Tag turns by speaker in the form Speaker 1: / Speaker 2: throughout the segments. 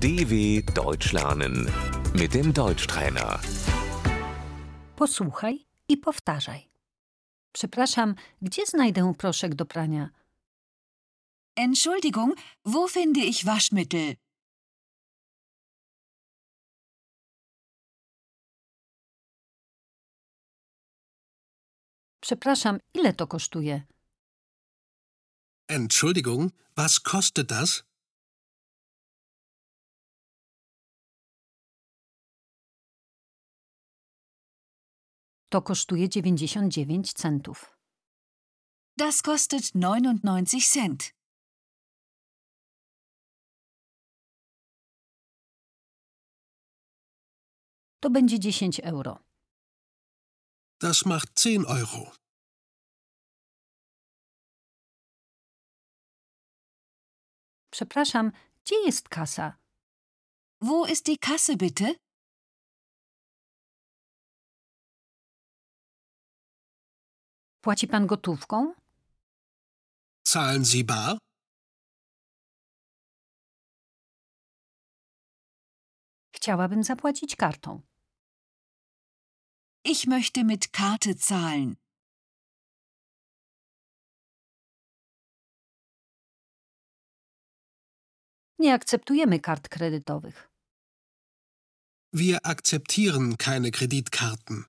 Speaker 1: DW Deutsch lernen mit dem Deutschtrainer.
Speaker 2: Posłuchaj i powtarzaj. Przepraszam, gdzie znajdę proszek do prania?
Speaker 3: Entschuldigung, wo finde ich Waschmittel?
Speaker 2: Przepraszam, ile to kosztuje?
Speaker 4: Entschuldigung, was kostet das?
Speaker 2: To kosztuje 99 centów.
Speaker 3: Das kostet 99 Cent.
Speaker 2: To będzie 10 euro.
Speaker 4: Das macht 10 Euro.
Speaker 2: Przepraszam, gdzie jest kasa?
Speaker 3: Wo ist die Kasse bitte?
Speaker 2: Płaci pan gotówką?
Speaker 4: Zahlen Sie bar?
Speaker 2: Chciałabym zapłacić kartą.
Speaker 3: Ich möchte mit Karte zahlen.
Speaker 2: Nie akceptujemy kart kredytowych.
Speaker 4: Wir akzeptieren keine Kreditkarten.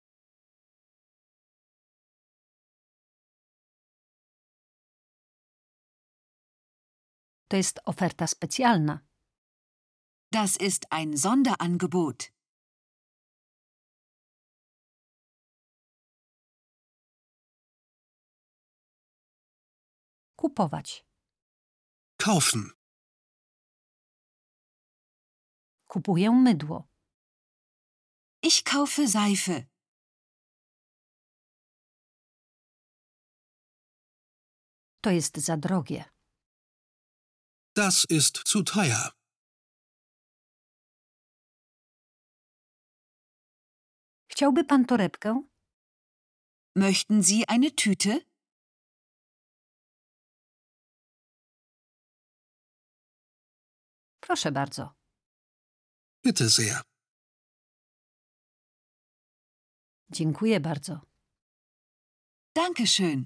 Speaker 2: To jest oferta specjalna.
Speaker 3: Das ist ein Sonderangebot.
Speaker 2: Kupować.
Speaker 4: Kaufen.
Speaker 2: Kupuję mydło.
Speaker 3: Ich kaufe Seife.
Speaker 2: To jest za drogie.
Speaker 4: Das ist zu teuer.
Speaker 2: Chciałby pan torebkę?
Speaker 3: Möchten Sie eine Tüte?
Speaker 2: Proszę bardzo.
Speaker 4: Bitte sehr.
Speaker 2: Dziękuję bardzo.
Speaker 3: Dankeschön.